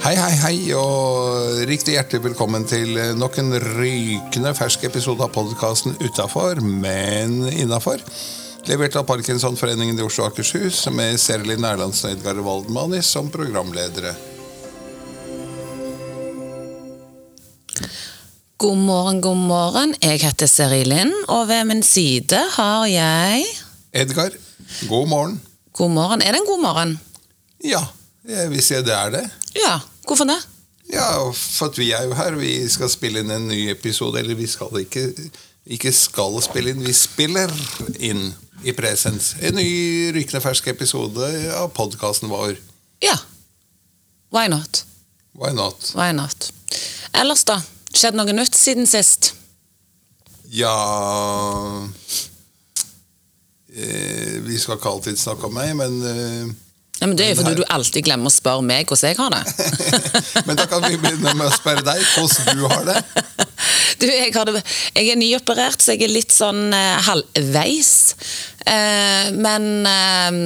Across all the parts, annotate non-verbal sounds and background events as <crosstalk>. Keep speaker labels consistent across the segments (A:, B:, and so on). A: Hei, hei, hei, og riktig hjertelig velkommen til nok en rykende fersk episode av podkasten Utafor, men innafor. Levert av Parkinsonforeningen i Oslo og Akershus med Serlin Erlandsen og Edgar Waldmani som programledere.
B: God morgen, god morgen. Jeg heter Serilin, og ved min side har jeg
A: Edgar, god morgen.
B: God morgen. Er det en god morgen?
A: Ja, jeg vil si det er det.
B: Ja. Hvorfor det?
A: Ja, for at vi er jo her. Vi skal spille inn en ny episode. Eller vi skal ikke, ikke skal spille inn, vi spiller inn i presens. En ny rykende fersk episode av podkasten vår.
B: Ja. Why not?
A: Why not?
B: Why not? Ellers, da? Skjedd noe nytt siden sist?
A: Ja eh, Vi skal ikke alltid snakke om meg, men eh,
B: Nei, men Det er jo
A: Nei.
B: fordi du alltid glemmer å spørre meg hvordan jeg har det.
A: Men da kan vi begynne med å spørre deg hvordan du har det.
B: Du, jeg, har det, jeg er nyoperert, så jeg er litt sånn eh, halvveis. Eh, men eh,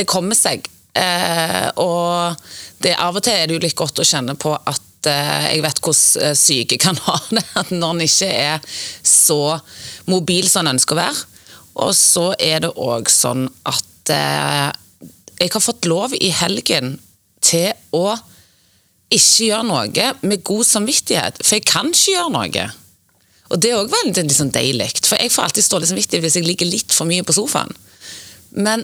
B: det kommer seg. Eh, og det, av og til er det jo litt godt å kjenne på at eh, jeg vet hvordan eh, syke kan ha <laughs> det. At når en ikke er så mobil som en ønsker å være. Og så er det òg sånn at eh, jeg har fått lov i helgen til å ikke gjøre noe med god samvittighet, for jeg kan ikke gjøre noe. Og det er òg veldig liksom, deilig, for jeg får alltid stålig samvittighet hvis jeg ligger litt for mye på sofaen. Men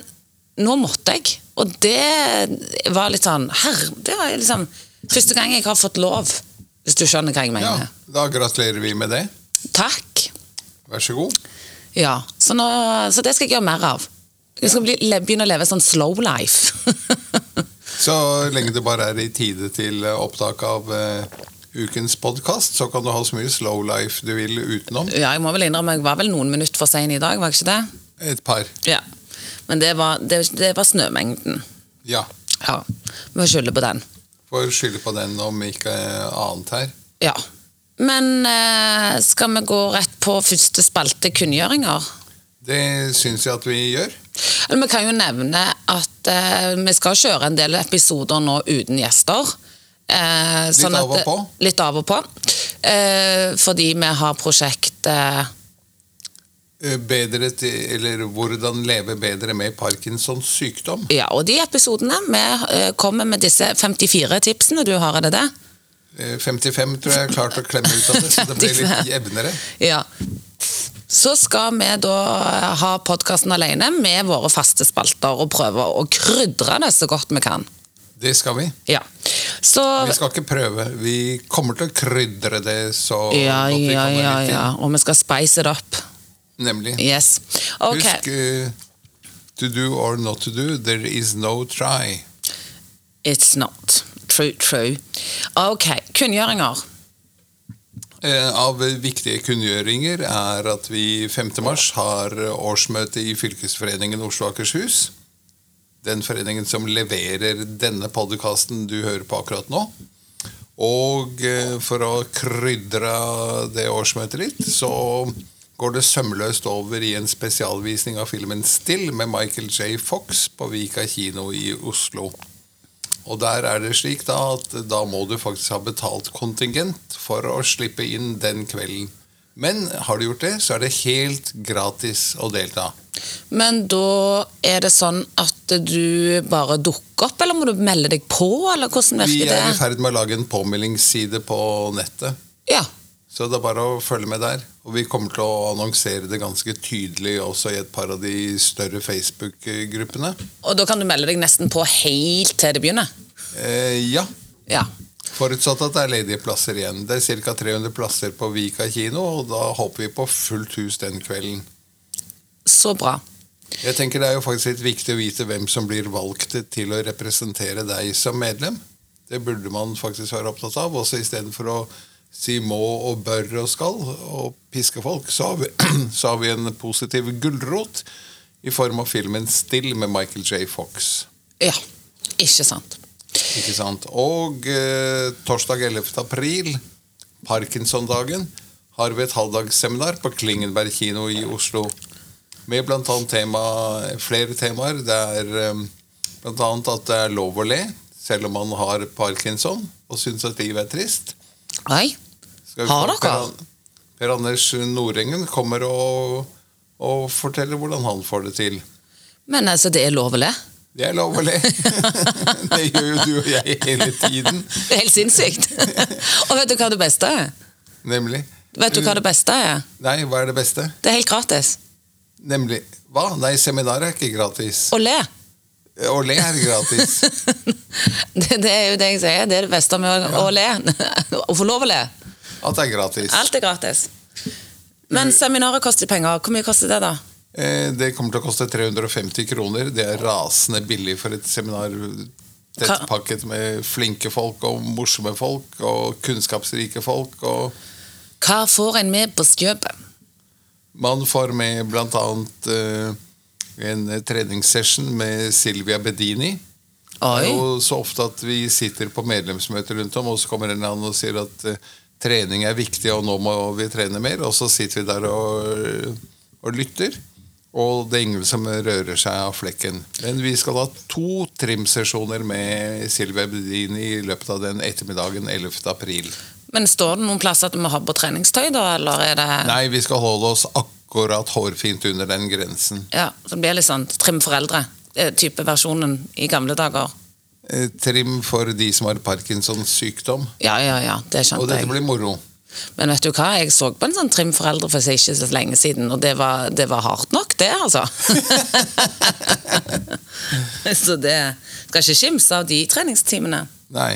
B: nå måtte jeg, og det var litt sånn herre, Det var liksom første gang jeg har fått lov, hvis du skjønner hva jeg
A: Ja,
B: mener.
A: Da gratulerer vi med det.
B: Takk.
A: Vær så god.
B: Ja, så, nå, så det skal jeg gjøre mer av. Jeg skal bli, le, begynne å leve sånn slow life. <laughs>
A: Så lenge det bare er i tide til eh, opptak av eh, ukens podkast, så kan du ha så mye slow life du vil utenom.
B: ja, jeg må vel innrømme, jeg var vel noen minutter for sein i dag, var jeg ikke det?
A: Et par.
B: Ja. Men det var, det, det var snømengden.
A: Ja.
B: Ja. Vi må skylde på den.
A: Får skylde på den om ikke eh, annet her.
B: Ja. Men eh, skal vi gå rett på første spalte kunngjøringer?
A: Det syns jeg at vi gjør.
B: Eller, vi kan jo nevne at eh, vi skal kjøre en del episoder nå uten gjester. Eh, sånn
A: av og
B: at-
A: på?
B: Litt av og på. Eh, fordi vi har prosjekt eh,
A: Eh, Bedre til, eller hvordan leve bedre med Parkinsons sykdom.
B: Ja, og de episodene Vi eh, kommer med disse 54 tipsene du har, er det det?
A: Eh, 55 tror jeg jeg har klart å klemme ut av det, så det blir litt
B: 55.
A: jevnere.
B: <laughs> Ja. Så skal vi da eh, ha podkasten alene med våre faste spalter og prøve å krydre det så godt vi kan.
A: Det skal vi.
B: Ja. Så
A: Vi skal ikke prøve. Vi kommer til å krydre det så
B: Ja,
A: godt vi
B: ja,
A: kommer
B: ja,
A: hit til.
B: ja. Og vi skal spice it up.
A: Nemlig.
B: Yes. Ok.
A: Husk eh, To do or not to do, there is no try.
B: It's not. True, true. Ok. Kunngjøringer.
A: Eh, Av viktige kunngjøringer er at vi 5. mars har årsmøte i Fylkesforeningen Oslo og Akershus. Den foreningen som leverer denne podkasten du hører på akkurat nå. Og eh, for å krydre det årsmøtet litt, så går det sømløst over i en spesialvisning av filmen 'Still' med Michael J. Fox på Vika kino i Oslo. Og der er det slik da at da må du faktisk ha betalt kontingent for å slippe inn den kvelden. Men har du gjort det, så er det helt gratis å delta.
B: Men da er det sånn at du bare dukker opp, eller må du melde deg på, eller hvordan
A: Vi
B: virker
A: er i
B: det?
A: ferd med å lage en påmeldingsside på nettet,
B: Ja.
A: så det er bare å følge med der. Og vi kommer til å annonsere det ganske tydelig også i et par av de større Facebook-gruppene.
B: Og da kan du melde deg nesten på helt til det begynner?
A: Eh, ja,
B: Ja.
A: forutsatt at det er ledige plasser igjen. Det er ca. 300 plasser på Vika kino, og da håper vi på fullt hus den kvelden.
B: Så bra.
A: Jeg tenker Det er jo faktisk litt viktig å vite hvem som blir valgt til å representere deg som medlem. Det burde man faktisk være opptatt av. Også Istedenfor å si må og bør og skal og piske folk, så har vi, <clears throat> så har vi en positiv gulrot i form av filmen 'Still' med Michael J. Fox.
B: Ja. Ikke sant.
A: Ikke sant? Og eh, torsdag 11. april, Parkinsondagen, har vi et halvdagsseminar på Klingenberg kino i Oslo. Med bl.a. Tema, flere temaer. Det er eh, Blant annet at det er lov å le, selv om man har parkinson og syns at livet er trist.
B: Oi.
A: Skal vi
B: Har
A: få
B: dere?
A: Per, An- per Anders Nordengen kommer og, og forteller hvordan han får det til.
B: Men altså, det er lov å le.
A: Det er lov å le. <laughs> det gjør jo du og jeg hele tiden.
B: Det er helt sinnssykt. og vet du hva det beste er?
A: Nemlig.
B: Vet du hva det beste er?
A: Nei, hva er det beste?
B: Det er helt gratis.
A: Nemlig Hva? Nei, seminar er ikke gratis.
B: Å le.
A: Å le er gratis.
B: <laughs> Det, det er jo det jeg sier. Det er det beste med å, å le. Å få lov å le.
A: At det er gratis.
B: Alt er gratis.
A: Mm.
B: Men seminaret koster penger. Hvor mye koster det, da?
A: Eh, Det kommer til å koste 350 kroner. Det er rasende billig for et seminar tettpakket med flinke folk og morsomme folk og kunnskapsrike folk. Og
B: Hva får en med på skjøpet?
A: man får med bl.a. en eh, treningssession med Silvia Bedini. Det er
B: Oi.
A: jo så ofte at vi sitter på medlemsmøter rundt om, og så kommer en eller annen og sier at eh, trening er viktig, og nå må vi trene mer. Og så sitter vi der og, og lytter, og det er ingen som rører seg av flekken. Men vi skal ha to trimsesjoner med Silvia Bedini i løpet av den ettermiddagen 11. april.
B: Men står det noen plasser at vi har på treningstøy, da? Eller er det
A: Nei, vi skal holde oss akkurat hårfint under den grensen.
B: Ja, så det blir litt sånn trim foreldre. eh, Type versjonen i gamle dager.
A: Eh, Trim for de som har Parkinsons sykdom.
B: Ja, ja, ja, det
A: Og
B: skjønte
A: dette
B: jeg.
A: blir moro.
B: Men vet du hva, jeg så på en sånn Trim foreldre for ikke så lenge siden, og det var, det var hardt nok, det, altså. <laughs> så det skal ikke skimse av de treningstimene.
A: Nei.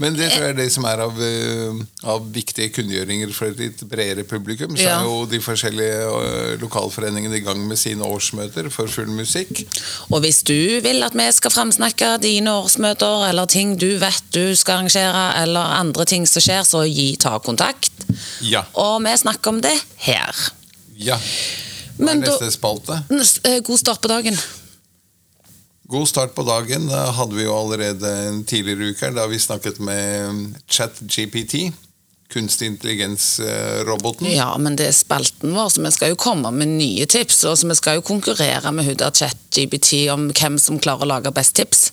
A: Men det tror jeg er det som er av, eh, av viktige kunngjøringer for et litt bredere publikum. Så
B: Ja.
A: er jo de forskjellige eh, lokalforeningene i gang med sine årsmøter for full musikk.
B: Og hvis du vil at vi skal fremsnakke dine årsmøter, eller ting du vet du skal arrangere, eller andre ting som skjer, så gi ta kontakt.
A: Ja.
B: Og vi snakker om det her.
A: ja. Hva er
B: Men da
A: neste spalte?
B: Eh, God start på dagen.
A: God start på dagen eh, hadde vi jo allerede en tidligere uke her, da vi snakket med eh, ChatGPT. Kunstig eh, intelligens-roboten.
B: Ja, men det er spalten vår, så vi skal jo komme med nye tips. Og så vi skal jo konkurrere med Huda ChatGBT om hvem som klarer å lage best tips.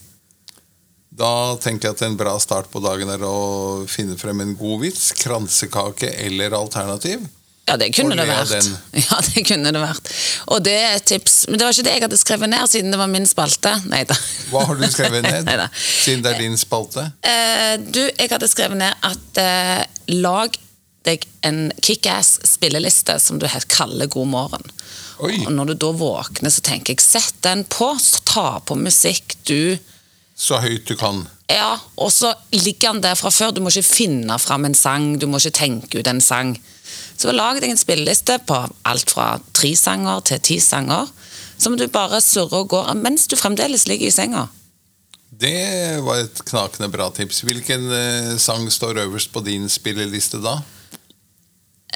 A: Da tenker jeg at en bra start på dagen er å finne frem en god vits, kransekake eller alternativ.
B: Ja, det kunne
A: Og
B: det
A: le av
B: vært.
A: den.
B: <laughs> Ja, det kunne det vært. Og det er et tips. Men det var ikke det jeg hadde skrevet ned, siden det var min spalte. Nei da.
A: Hva har du skrevet ned,
B: <laughs> Neida.
A: siden det er din spalte?
B: Eh, du, jeg hadde skrevet ned at eh, lag deg en kickass spilleliste som du helt kaller God morgen.
A: Oi,
B: Og når du da våkner, så tenker jeg sett den på, så ta på musikk du
A: så høyt du kan.
B: Ja, og så ligger han der fra før. Du må ikke finne fram en sang, du må ikke tenke ut en sang. Så lag deg en spilleliste på alt fra tre sanger til ti sanger, som du bare surrer og går mens du fremdeles ligger i senga.
A: Det var et knakende bra tips. Hvilken eh, sang står øverst på din spilleliste da?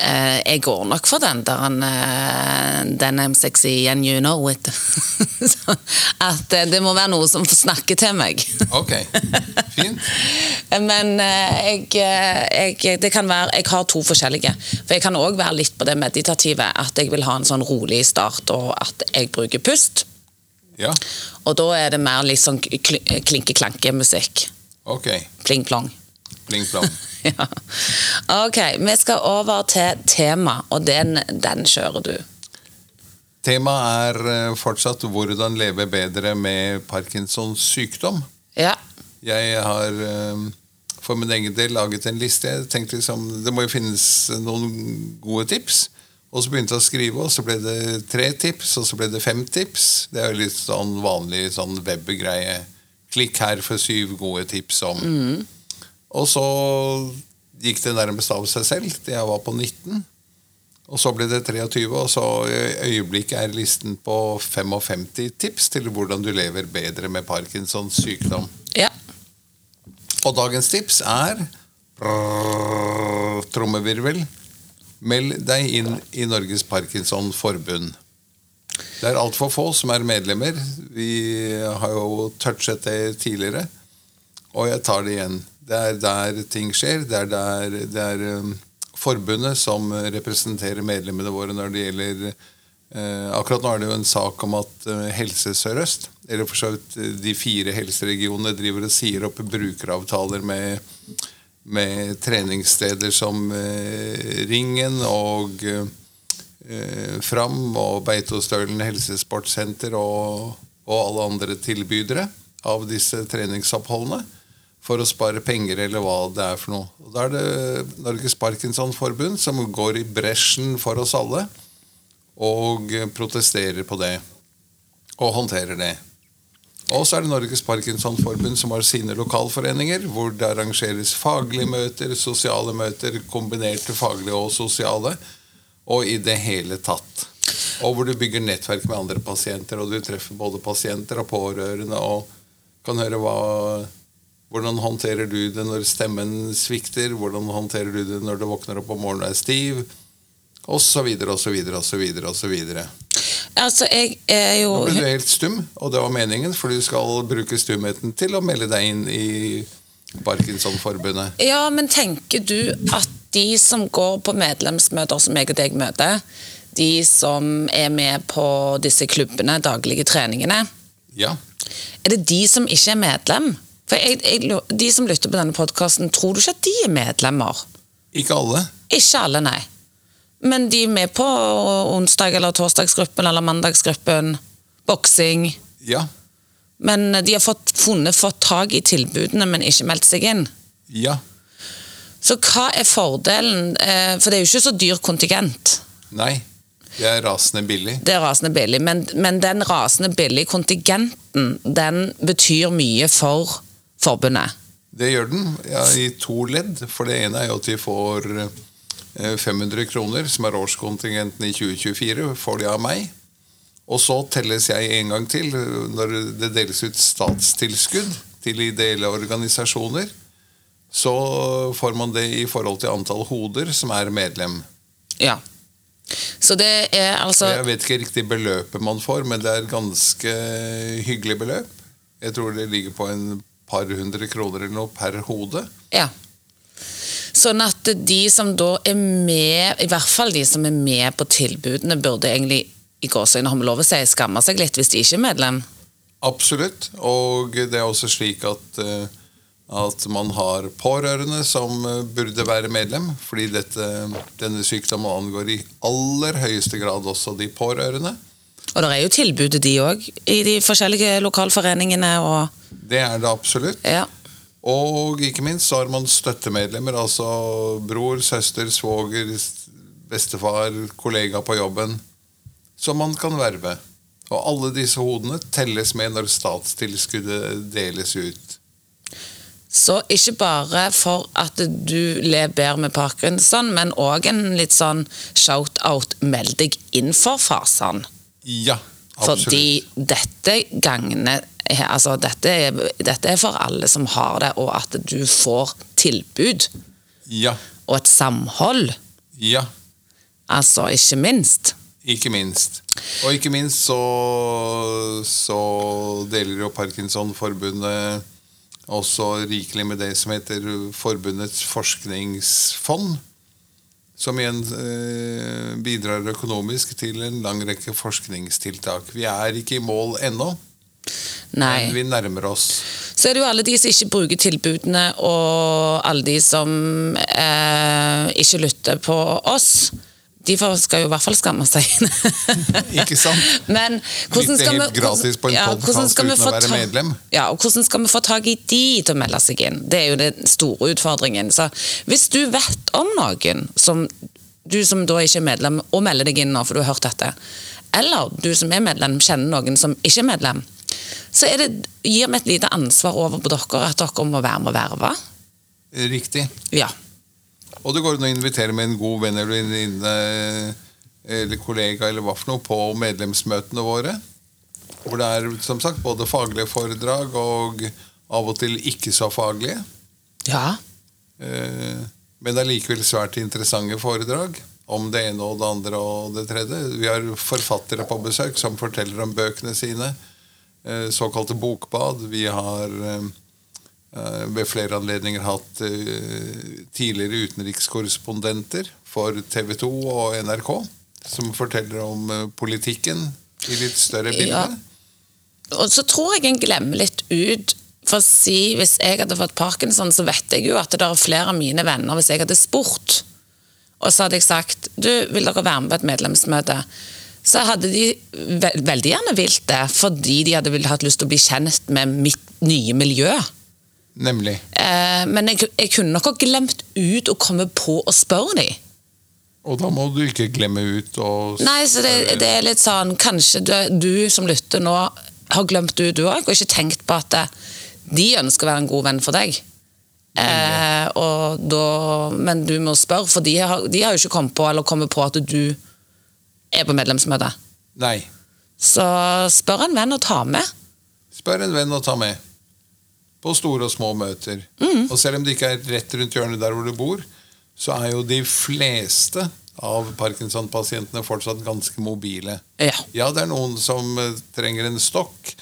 B: Eh, jeg går nok for den der han eh, Den I'm sexy and you know it. <laughs> Så At eh, det må være noe som snakker til meg.
A: Ok, fint.
B: Men eh, jeg, eh, jeg, det kan være, jeg har to forskjellige. For jeg kan òg være litt på det meditative. At jeg vil ha en sånn rolig start, og at jeg bruker pust.
A: Ja,
B: Og da er det mer litt sånn kl- klinke-klanke-musikk.
A: ok.
B: Pling-plong. <laughs>
A: Pling plong.
B: ja. Ok, vi skal over til tema, og den, den kjører du.
A: Temaet er eh, fortsatt 'Hvordan leve bedre med Parkinsons sykdom'.
B: Ja.
A: Jeg har eh, for min egen del laget en liste. Jeg tenkte liksom, Det må jo finnes noen gode tips. Og så begynte jeg å skrive, og så ble det tre tips, og så ble det fem tips. Det er jo litt sånn vanlig sånn web-greie. Klikk her for syv gode tips om. Og så gikk det nærmest av seg selv. til Jeg var på 19. Og så ble det 23, og så i øyeblikket er listen på 55 tips til hvordan du lever bedre med Parkinsons sykdom.
B: ja.
A: Og dagens tips er Trommevirvel. Meld deg inn i Norges Parkinson-forbund. Det er altfor få som er medlemmer. Vi har jo touchet det tidligere. Og jeg tar det igjen. Det er der ting skjer. Det er, der, det er um, forbundet som representerer medlemmene våre når det gjelder Eh, akkurat nå er det jo en sak om at eh, Helse Sør-Øst, eller for så vidt eh, de fire helseregionene, driver og sier opp brukeravtaler med, med treningssteder som eh, Ringen og eh, eh, Fram og Beitostølen helsesportsenter og, og alle andre tilbydere av disse treningsoppholdene for å spare penger eller hva det er for noe. Og da er det Norges Parkinsonforbund som går i bresjen for oss alle og protesterer på det. Og håndterer det. Og så er det Norges Parkinsonforbund som har sine lokalforeninger, hvor det arrangeres faglige møter, sosiale møter, kombinerte faglige og sosiale, og i det hele tatt. Og hvor du bygger nettverk med andre pasienter, og du treffer både pasienter og pårørende og kan høre hva hvordan håndterer du det når stemmen svikter? Hvordan håndterer du det når du våkner opp om morgenen og er stiv? Og så videre, og så videre, og så videre, og så videre.
B: Altså, jeg er jo
A: Nå ble du helt stum, og det var meningen, for du skal bruke stumheten til å melde deg inn i Parkinsonforbundet.
B: Ja, men tenker du at de som går på medlemsmøter som jeg og deg møter, de som er med på disse klubbene, daglige treningene,
A: Ja.
B: er det de som ikke er medlem? For jeg, jeg, lo- de som lytter på denne podkasten, tror du ikke at de er medlemmer?
A: Ikke alle.
B: Ikke alle, nei. Men de er med på onsdag- eller torsdagsgruppen eller mandagsgruppen, boksing.
A: Ja.
B: Men de har fått, funnet, fått tak i tilbudene, men ikke meldt seg inn.
A: Ja.
B: Så hva er fordelen? Eh, For det er jo ikke så dyr kontingent.
A: Nei. Det er rasende billig.
B: Det er rasende billig, men, men den rasende billige kontingenten, den betyr mye for forbundet.
A: Det gjør den, ja, i to ledd. For det ene er jo at de får eh, 500 kroner, som er årskontingenten i 2024, får de av meg. Og så telles jeg en gang til eh, når det deles ut statstilskudd til ideelle organisasjoner. Så får man det i forhold til antall hoder som er medlem.
B: Ja. Så det er altså
A: Jeg vet ikke riktig beløpet man får, men det er ganske hyggelig beløp. Jeg tror det ligger på en par hundre kroner eller noe per hode.
B: Ja. Sånn at de som da er med, i hvert fall de som er med på tilbudene, burde egentlig i gårsøgne, har vi lov å si, skamme seg litt hvis de ikke er medlem.
A: Absolutt. Og det er også slik at, eh, at man har pårørende som eh, burde være medlem, fordi dette, denne sykdommen angår i aller høyeste grad også de pårørende.
B: Og det er jo tilbudet de òg, i de forskjellige lokalforeningene og
A: Det er det absolutt.
B: Ja.
A: Og ikke minst så har man støttemedlemmer, altså bror, søster, svoger, s- bestefar, kollega på jobben, som man kan verve. Og alle disse hodene telles med når statstilskuddet deles ut.
B: Så ikke bare for at du lever bedre med parkinson, men òg en litt sånn shout-out meld deg inn for fasen.
A: Ja, absolutt.
B: Fordi dette gagner Altså, dette er, dette er for alle som har det, og at du får tilbud
A: Ja,
B: og et samhold.
A: ja.
B: Altså, ikke minst.
A: Ikke minst. Og ikke minst så, så deler jo Parkinsonforbundet også rikelig med det som heter Forbundets forskningsfond. Som igjen eh, bidrar økonomisk til en lang rekke forskningstiltak. Vi er ikke i mål ennå, men
B: Nei.
A: vi nærmer oss.
B: Så er det jo alle de som ikke bruker tilbudene, og alle de som eh, ikke lytter på oss. De får- skal jo i hvert fall skamme seg.
A: Ikke sant?
B: <laughs> Men hvordan
A: Lytte
B: skal, vi,
A: helt gratis på en podcast
B: hvordan skal vi
A: uten å
B: få
A: være
B: ta-
A: medlem.
B: Ja, og hvordan skal vi få tak i de til å melde seg inn? Det er jo den store utfordringen. Så hvis du vet om noen, som du som da ikke er medlem, og melder deg inn nå, for du har hørt dette, eller du som er medlem, kjenner noen som ikke er medlem, så er det, gir vi et lite ansvar over på dere at dere må være med og verve.
A: Riktig.
B: Ja.
A: Og det går an å invitere med en god venn eller venninne eller kollega eller hva for noe på medlemsmøtene våre. Hvor det er som sagt både faglige foredrag og av og til ikke så faglige.
B: ja.
A: eh, Men allikevel svært interessante foredrag om det ene og det andre og det tredje. Vi har forfattere på besøk som forteller om bøkene sine. eh, Såkalte bokbad. Vi har eh, eh, ved flere anledninger hatt eh, tidligere utenrikskorrespondenter for TV 2 og NRK som forteller om eh, politikken i litt større
B: Ja.
A: bilder.
B: Og så tror jeg en glemmer litt ut. For å si, Hvis jeg hadde fått parkinson, så vet jeg jo at det er flere av mine venner Hvis jeg hadde spurt, og så hadde jeg sagt du, vil dere være med på et medlemsmøte, så hadde de ve veldig gjerne vilt det, fordi de hadde vel hatt lyst til å bli kjent med mitt nye miljø.
A: Nemlig.
B: Eh, men jeg, jeg kunne nok ha glemt ut å komme på å spørre dem.
A: Og da må du ikke glemme ut å
B: Nei, så det, det er litt sånn Kanskje du, du som lytter nå har glemt du du òg, og ikke tenkt på at eh, de ønsker å være en god venn for deg. Eh, og da, men du må spørre, for de har, de har jo ikke kommet på eller kommet på at du er på medlemsmøte.
A: Nei.
B: Så spør en venn og ta med.
A: Spør en venn å ta med. På store og små møter. Og selv om det ikke er rett rundt hjørnet der hvor du bor, så er jo de fleste av parkinson-pasientene fortsatt ganske mobile.
B: Ja.
A: Ja, det er noen som eh, trenger en stokk.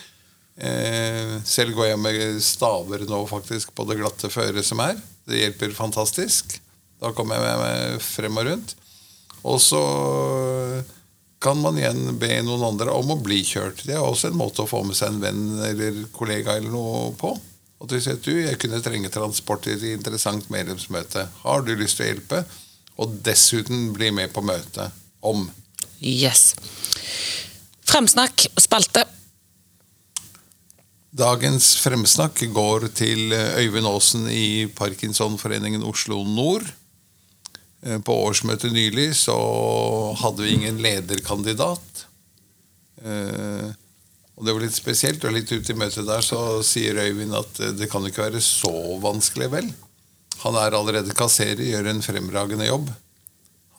A: Eh, selv går jeg med staver nå faktisk på det glatte føret som er. Det hjelper fantastisk. Da kommer jeg meg frem og rundt. Og så kan man igjen be noen andre om å bli kjørt. Det er også en måte å få med seg en venn eller kollega eller noe på. At du sier du, jeg kunne trenge transport til et interessant medlemsmøte. Har du lyst til å hjelpe? Og dessuten bli med på møtet om.
B: Yes. Fremsnakk, spalte.
A: Dagens fremsnakk går til eh, Øyvind Aasen i Parkinsonforeningen Oslo Nord. Eh, På årsmøtet nylig så hadde vi ingen lederkandidat. Eh, Og det var litt spesielt, og litt ute i møtet der så sier Øyvind at eh, det kan jo ikke være så vanskelig, vel? Han er allerede kasserer, gjør en fremragende jobb.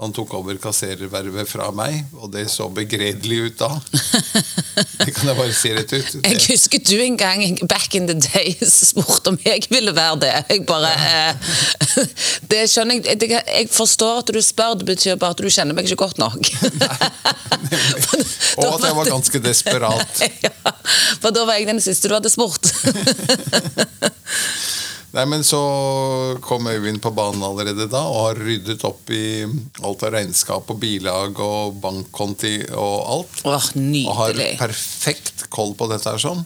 A: Han tok over kasserervervet fra meg, og det så begredelig ut da. Det kan jeg bare si rett ut.
B: <laughs>
A: Det-
B: Jeg husker du en gang back in the day spurte om jeg ville være det. Jeg bare eh, Det skjønner jeg. Jeg jeg forstår at du spør, det betyr bare at du kjenner meg ikke godt nok.
A: Og at jeg var ganske desperat.
B: <laughs> Ja, for da var jeg den siste du hadde spurt.
A: Nei, men så kom Øyvind på banen allerede da og har ryddet opp i alt av regnskap og bilag og bankkonti og alt.
B: Åh,
A: Og har
B: nydelig.
A: perfekt koll på dette her sånn.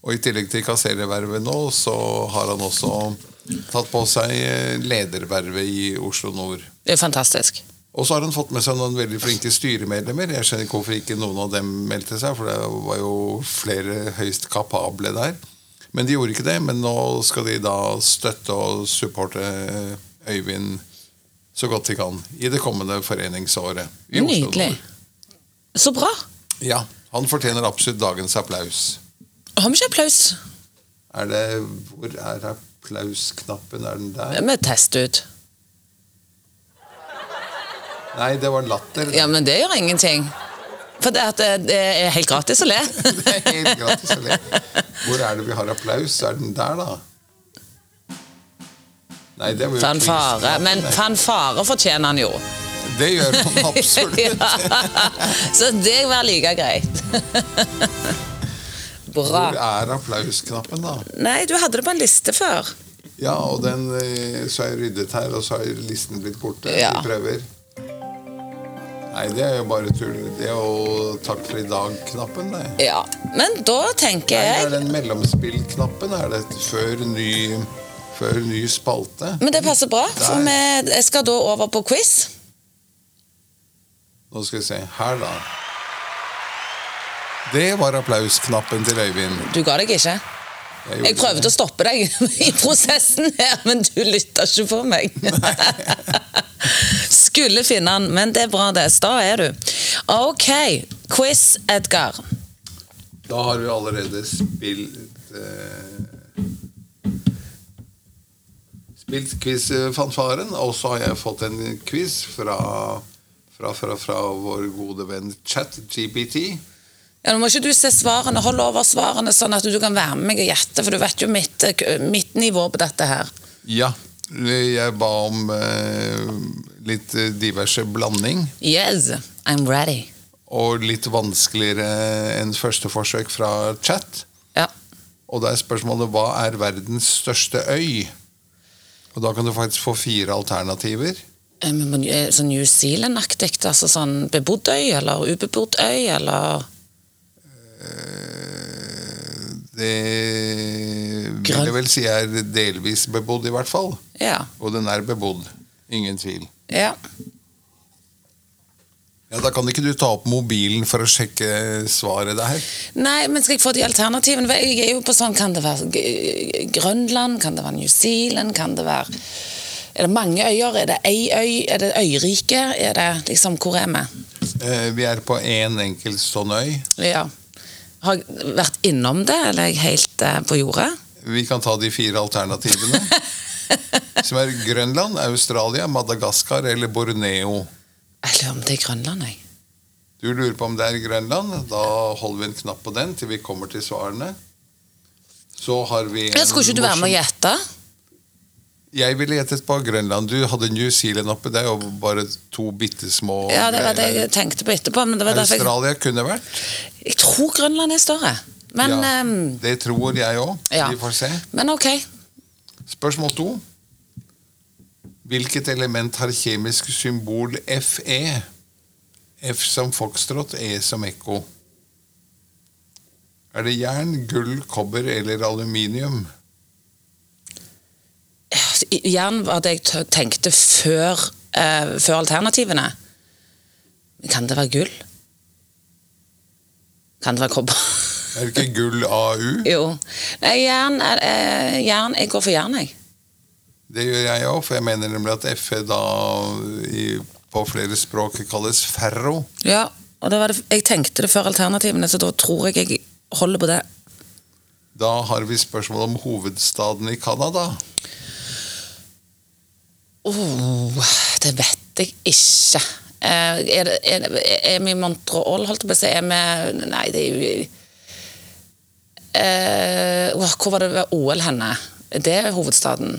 A: Og i tillegg til kasserervervet nå, så har han også tatt på seg eh, ledervervet i Oslo Nord.
B: Det er fantastisk.
A: Og så har han fått med seg noen veldig flinke styremedlemmer. Jeg skjønner ikke hvorfor ikke noen av dem meldte seg, for det var jo flere høyst kapable der. Men de gjorde ikke det, men nå skal de da støtte og supporte eh, Øyvind så godt de kan i det kommende foreningsåret. i Oslo
B: Nydelig.
A: Nord.
B: Så bra.
A: Ja, Han fortjener absolutt dagens applaus.
B: Har vi ikke applaus?
A: Er det, hvor er applausknappen? Er den der?
B: Vi tester ut.
A: Nei, det var latter.
B: Ja, men det gjør ingenting. For det, at det- det er helt gratis å le.
A: <laughs> Det er helt gratis å le. Hvor er det vi har applaus? Er den der, da? Nei, det var jo
B: Fanfare.
A: krisen.
B: Men
A: Nei,
B: fanfare fortjener han jo.
A: Det gjør
B: <laughs>
A: han absolutt.
B: Så det var like greit. Bra.
A: Hvor er applausknappen, da?
B: Nei, du hadde det på en liste før.
A: Ja, og den eh, Så har jeg ryddet her, og så har listen blitt borte.
B: Ja.
A: Vi prøver. Nei, det er jo bare tull. Det er jo takk for i dag-knappen, det.
B: Ja. Men da tenker
A: Nei, det er
B: jeg
A: den mellomspill-knappen. Er det før ny, før ny spalte?
B: Men det passer bra, for vi
A: Der.
B: jeg skal da over på quiz.
A: Nå skal vi se. Her, da. Det var applausknappen til Øyvind.
B: Du ga deg ikke.
A: gjorde
B: Jeg prøvde å stoppe deg <laughs> i prosessen her, men du lytta ikke på meg. <laughs> Skulle finne den, men det er bra, det. Sta er du. OK. Quiz, Edgar.
A: det. Da har vi allerede spilt eh, Spilt quiz-fanfaren, og så har jeg fått en quiz fra, fra, fra, fra vår gode venn ChatGPT.
B: Ja, nå må ikke du se svarene, hold over svarene sånn at du kan være med meg og gjette, for du vet jo mitt, eh, mitt nivå på dette her.
A: Ja. Jeg ba om eh, litt eh, diverse blanding.
B: Yes, I'm ready.
A: Og litt vanskeligere enn første forsøk fra chat.
B: Ja.
A: Og da er spørsmålet hva er verdens største øy? Og da kan du faktisk få fire alternativer.
B: eh, men på New- eh, sånn New Zealand-aktig? Altså sånn bebodd øy eller ubebodd øy, eller
A: Det Eh, vil
B: Grønn-
A: jeg vel si er delvis bebodd, i hvert fall.
B: Ja.
A: Og den er bebodd. Ingen tvil.
B: ja.
A: Ja, Da kan ikke du ta opp mobilen for å sjekke svaret der.
B: Nei, men skal jeg få de alternativene? Jeg er jo på sånn, Kan det være G- Grønland? Kan det være New Zealand? Kan det være Er det mange øyer? Er det ei øy? Er det øyrike? Er det liksom Hvor er vi?
A: Eh, Vi er på én enkelt sånn øy.
B: Ja. Har jeg vært innom det, eller er jeg helt eh, på jordet?
A: Vi kan ta de fire alternativene. Som er Grønland, Australia, Madagaskar eller Borneo.
B: Jeg lurer om det er Grønland, jeg.
A: Du lurer på om det er Grønland? Da holder vi en knapp på den til vi kommer til svarene. Så har vi en
B: Jeg skulle ikke du være med
A: morsom-
B: og gjette?
A: Jeg ville gjettet på Grønland. Du hadde New Zealand oppe. Det er jo bare to bitte små
B: Ja, det var det jeg tenkte på etterpå. Men det var derfor jeg,
A: Australia kunne vært.
B: jeg tror Grønland er større. Men
A: ja,
B: ehm,
A: det tror jeg òg.
B: ja.
A: Vi får se.
B: Men ok.
A: Spørsmål to. Hvilket element har kjemisk symbol Fe? F som foxtrot, E som ekko. Er det jern, gull, kobber eller aluminium?
B: Jern var det jeg t- tenkte før, eh, før alternativene. Kan det være gull? Kan det være kobber? <laughs>
A: Er det ikke gull AU?
B: jo. Nei, jern, er, eh, jern Jeg går for jern, jeg.
A: Det gjør jeg òg, for jeg mener nemlig at Fe da i, på flere språk kalles ferro.
B: Ja, og det var det, jeg tenkte det før alternativene, så da tror jeg jeg holder på det.
A: Da har vi spørsmål om hovedstaden i Canada.
B: Oh, det vet jeg ikke. Eh, er, det, er, det- er vi i Montreal, holdt jeg på å si? Er vi Nei, det er jo Eh, åh, Hvor var det ved OL henne? Det er hovedstaden.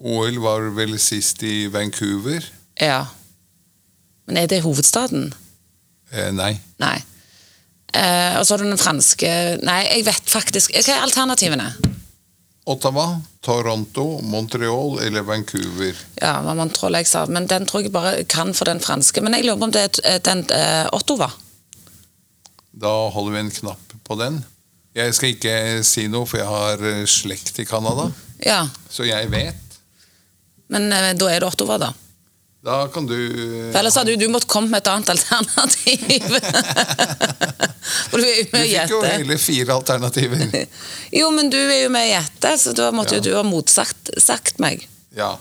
A: OL var vel sist i Vancouver?
B: Ja. Men er det hovedstaden?
A: Eh, nei.
B: Nei. Eh, og så har du den franske Nei, jeg vet faktisk Hva er alternativene?
A: Ottawa, Toronto, Montreal eller Vancouver?
B: Ja, hva man tror jeg sa. Men den tror jeg bare kan for den franske. Men jeg lurer på om det er den eh, Ottawa.
A: Da holder vi en knapp på den. Jeg skal ikke si noe, for jeg har eh, slekt i Canada,
B: Ja.
A: så jeg vet.
B: Men eh, da er det Ottawa, da.
A: Da kan du eh,
B: For ellers hadde jo du måttet komme med et annet
A: <laughs>
B: alternativ. For du er
A: Du
B: jo med å
A: fikk jo
B: gjette.
A: hele fire alternativer.
B: Jo, men du er jo med å gjette, så da
A: Ja.
B: måtte jo du ha motsagt sagt meg.
A: Ja.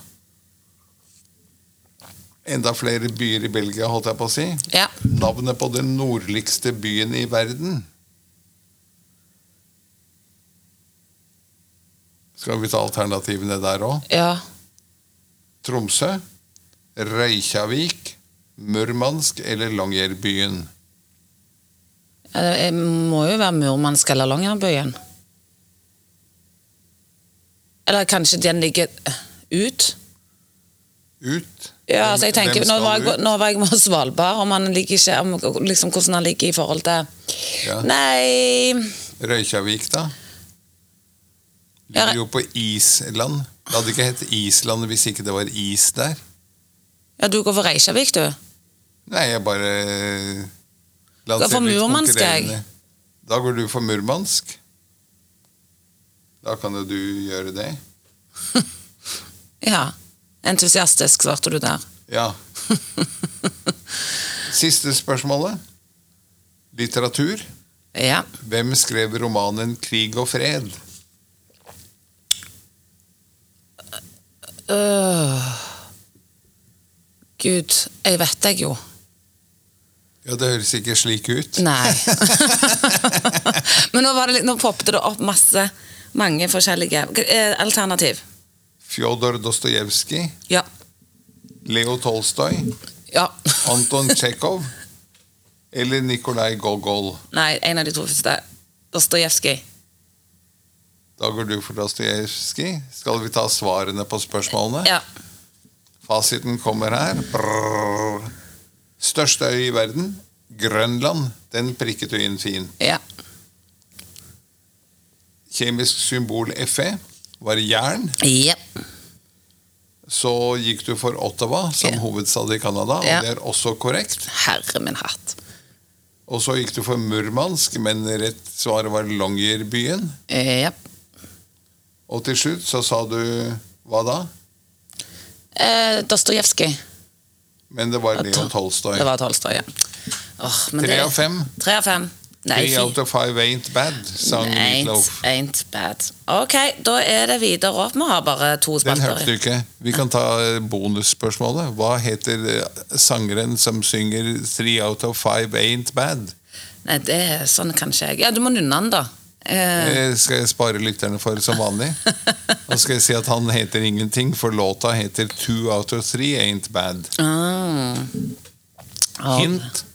A: Enda flere byer i Belgia, holdt jeg på å si.
B: Ja.
A: Navnet på den nordligste byen i verden. Skal vi ta alternativene der òg?
B: ja.
A: Tromsø, Reykjavik, Murmansk eller Longyearbyen?
B: Det må jo være Murmansk eller Longyearbyen. Eller kanskje den ligger ut?
A: Ut.
B: Ja, altså jeg
A: Hvem-
B: tenker,
A: hvem
B: nå
A: skal
B: var, jeg,
A: ut?
B: nå var jeg med Svalbard, om han ligger ikke, om, liksom, hvordan han ligger i forhold til
A: Ja.
B: Nei
A: Reykjavik, da?
B: Ja,
A: Ligger jo på Island. Det hadde ikke hett Island hvis ikke det var is der.
B: Ja, du går for Reykjavik, du?
A: Nei, jeg bare eh,
B: Går for Murmansk, jeg.
A: konkurrerende. Da går du for Murmansk. Da kan jo du gjøre det.
B: Ja. Entusiastisk svarte du der. <laughs>
A: Ja. Siste spørsmålet. Litteratur.
B: Ja.
A: Hvem skrev romanen 'Krig og fred'?
B: Øh. Gud, jeg vet deg jo.
A: Ja, Det høres ikke slik ut.
B: Nei. <laughs> Men nå, var det litt, nå poppet det opp masse, mange forskjellige eh, alternativ.
A: Fjodor Dostojevskij,
B: Ja.
A: Leo Tolstoy,
B: Ja.
A: Anton Tsjekhov eller Nikolai Gogol?
B: <laughs> Nei, en av de to første. Dostojevskij.
A: Da går du for Dostojevskij. Skal vi ta svarene på spørsmålene?
B: Ja.
A: Fasiten kommer her. Brrr. Største øy i verden? Grønland. Den prikket du inn fin.
B: ja.
A: Kjemisk symbol Fe var E jern.
B: Jep.
A: Så gikk du for Ottawa som
B: Ja.
A: hovedstad i Canada, og
B: Ja.
A: det er også korrekt.
B: Herre min hatt.
A: Og så gikk du for Murmansk, men rett svar var Longyearbyen.
B: Eh, Ja.
A: Og til slutt så sa du hva da?
B: Eh, Dostojevskij.
A: Men det var Leo Tolstoy.
B: Det var Tolstoy, ja. Åh, men
A: Tre
B: det-
A: av fem.
B: Tre av fem. Nei,
A: Three
B: fy.
A: out of five ain't bad, sang
B: Ain't,
A: Meatloaf.
B: ain't bad. Ok, da er det videre opp. Vi har bare to
A: Den
B: spalter.
A: hørte du ikke. Vi kan ta eh, bonusspørsmålet. Hva heter eh, sangeren som synger 'Three out of five ain't bad'?
B: Nei, det er sånn kanskje jeg Ja, du må nunne den, da. Eh,
A: Det skal jeg spare lytterne for som vanlig.
B: <laughs>
A: Og skal jeg si at han heter ingenting, for låta heter 'Two out of three ain't bad'.
B: ah. Ja.
A: Hint.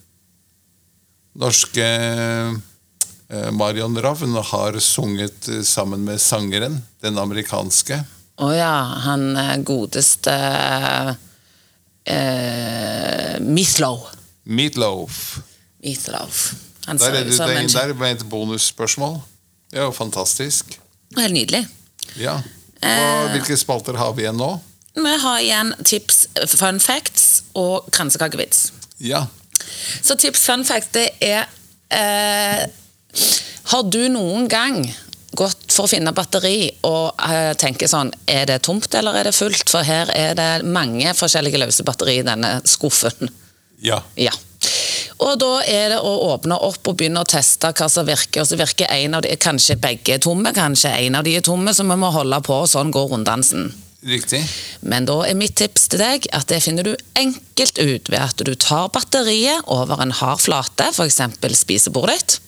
A: Norske eh, Marion Ravn har sunget eh, sammen med sangeren, den amerikanske.
B: Å ja, han eh, godeste eh, Meatloaf.
A: Meatloaf.
B: Meatloaf. Han
A: Der
B: ser
A: er
B: ut
A: det
B: som
A: deg
B: en
A: der med et bonusspørsmål. Det er jo fantastisk.
B: Helt nydelig.
A: Ja. Og
B: Eh.
A: hvilke spalter har vi igjen nå?
B: Vi har igjen tips, fun facts og kransekakevits.
A: Ja.
B: Så tips fun fact det er eh, Har du noen gang gått for å finne batteri og eh, tenker sånn Er det tomt eller er det fullt? For her er det mange forskjellige løse batteri i denne skuffen.
A: ja.
B: Ja. Og da er det å åpne opp og begynne å teste hva som virker. Og så virker en av de, kanskje begge er tomme, kanskje en av de er tomme, så vi må holde på, og sånn går runddansen.
A: Riktig.
B: Men da er mitt tips til deg at det finner du enkelt ut ved at du tar batteriet over en hard flate, f.eks. spisebordet ditt.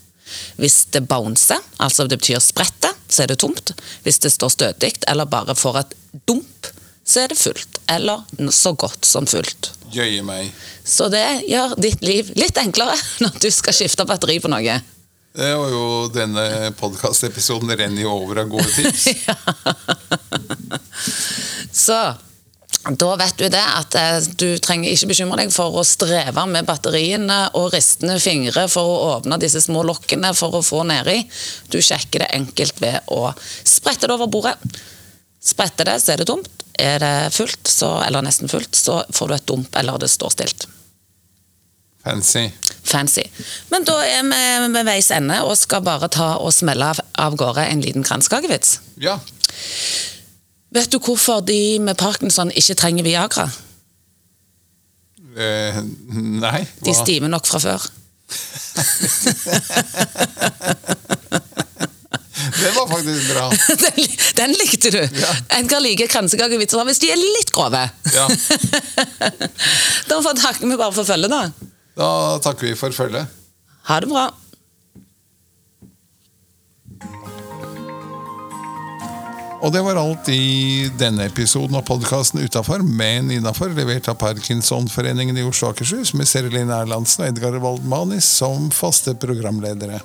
B: Hvis det bouncer, altså det betyr spretter, så er det tomt. Hvis det står stødig eller bare får et dump, så er det fullt. Eller n- så godt som fullt.
A: Jøye meg.
B: Så det gjør ditt liv litt enklere <laughs> når du skal skifte batteri på noe.
A: Det var jo denne podkastepisoden renner jo over av gode
B: <laughs>
A: tips.
B: Så da vet du det at eh, du trenger ikke bekymre deg for å streve med batteriene og ristende fingre for å åpne disse små lokkene for å få nedi. Du sjekker det enkelt ved å sprette det over bordet. Spretter det, så er det tomt. Er det fullt, så, eller nesten fullt, så får du et dump, eller det står stilt.
A: Fancy.
B: Fancy. Men da er vi ved veis ende og skal bare ta og smelle av, av gårde en liten kransekakevits.
A: Ja.
B: Vet du hvorfor de med parkinson ikke trenger Viagra?
A: Eh, nei.
B: De
A: Hva?
B: stimer nok fra før. <laughs>
A: Det var faktisk bra.
B: Den, den likte du!
A: Ja.
B: En kan like kransekakevitser hvis de er litt grove.
A: Ja.
B: <laughs> da får takke vi bare for følget, da.
A: Da takker vi for følget.
B: Ha det bra.
A: Og det var alt i denne episoden av podkasten Utafor, men innafor, levert av Parkinsonforeningen i Oslo og Akershus med Serelin Erlandsen og Edgar Waldmanis som faste programledere.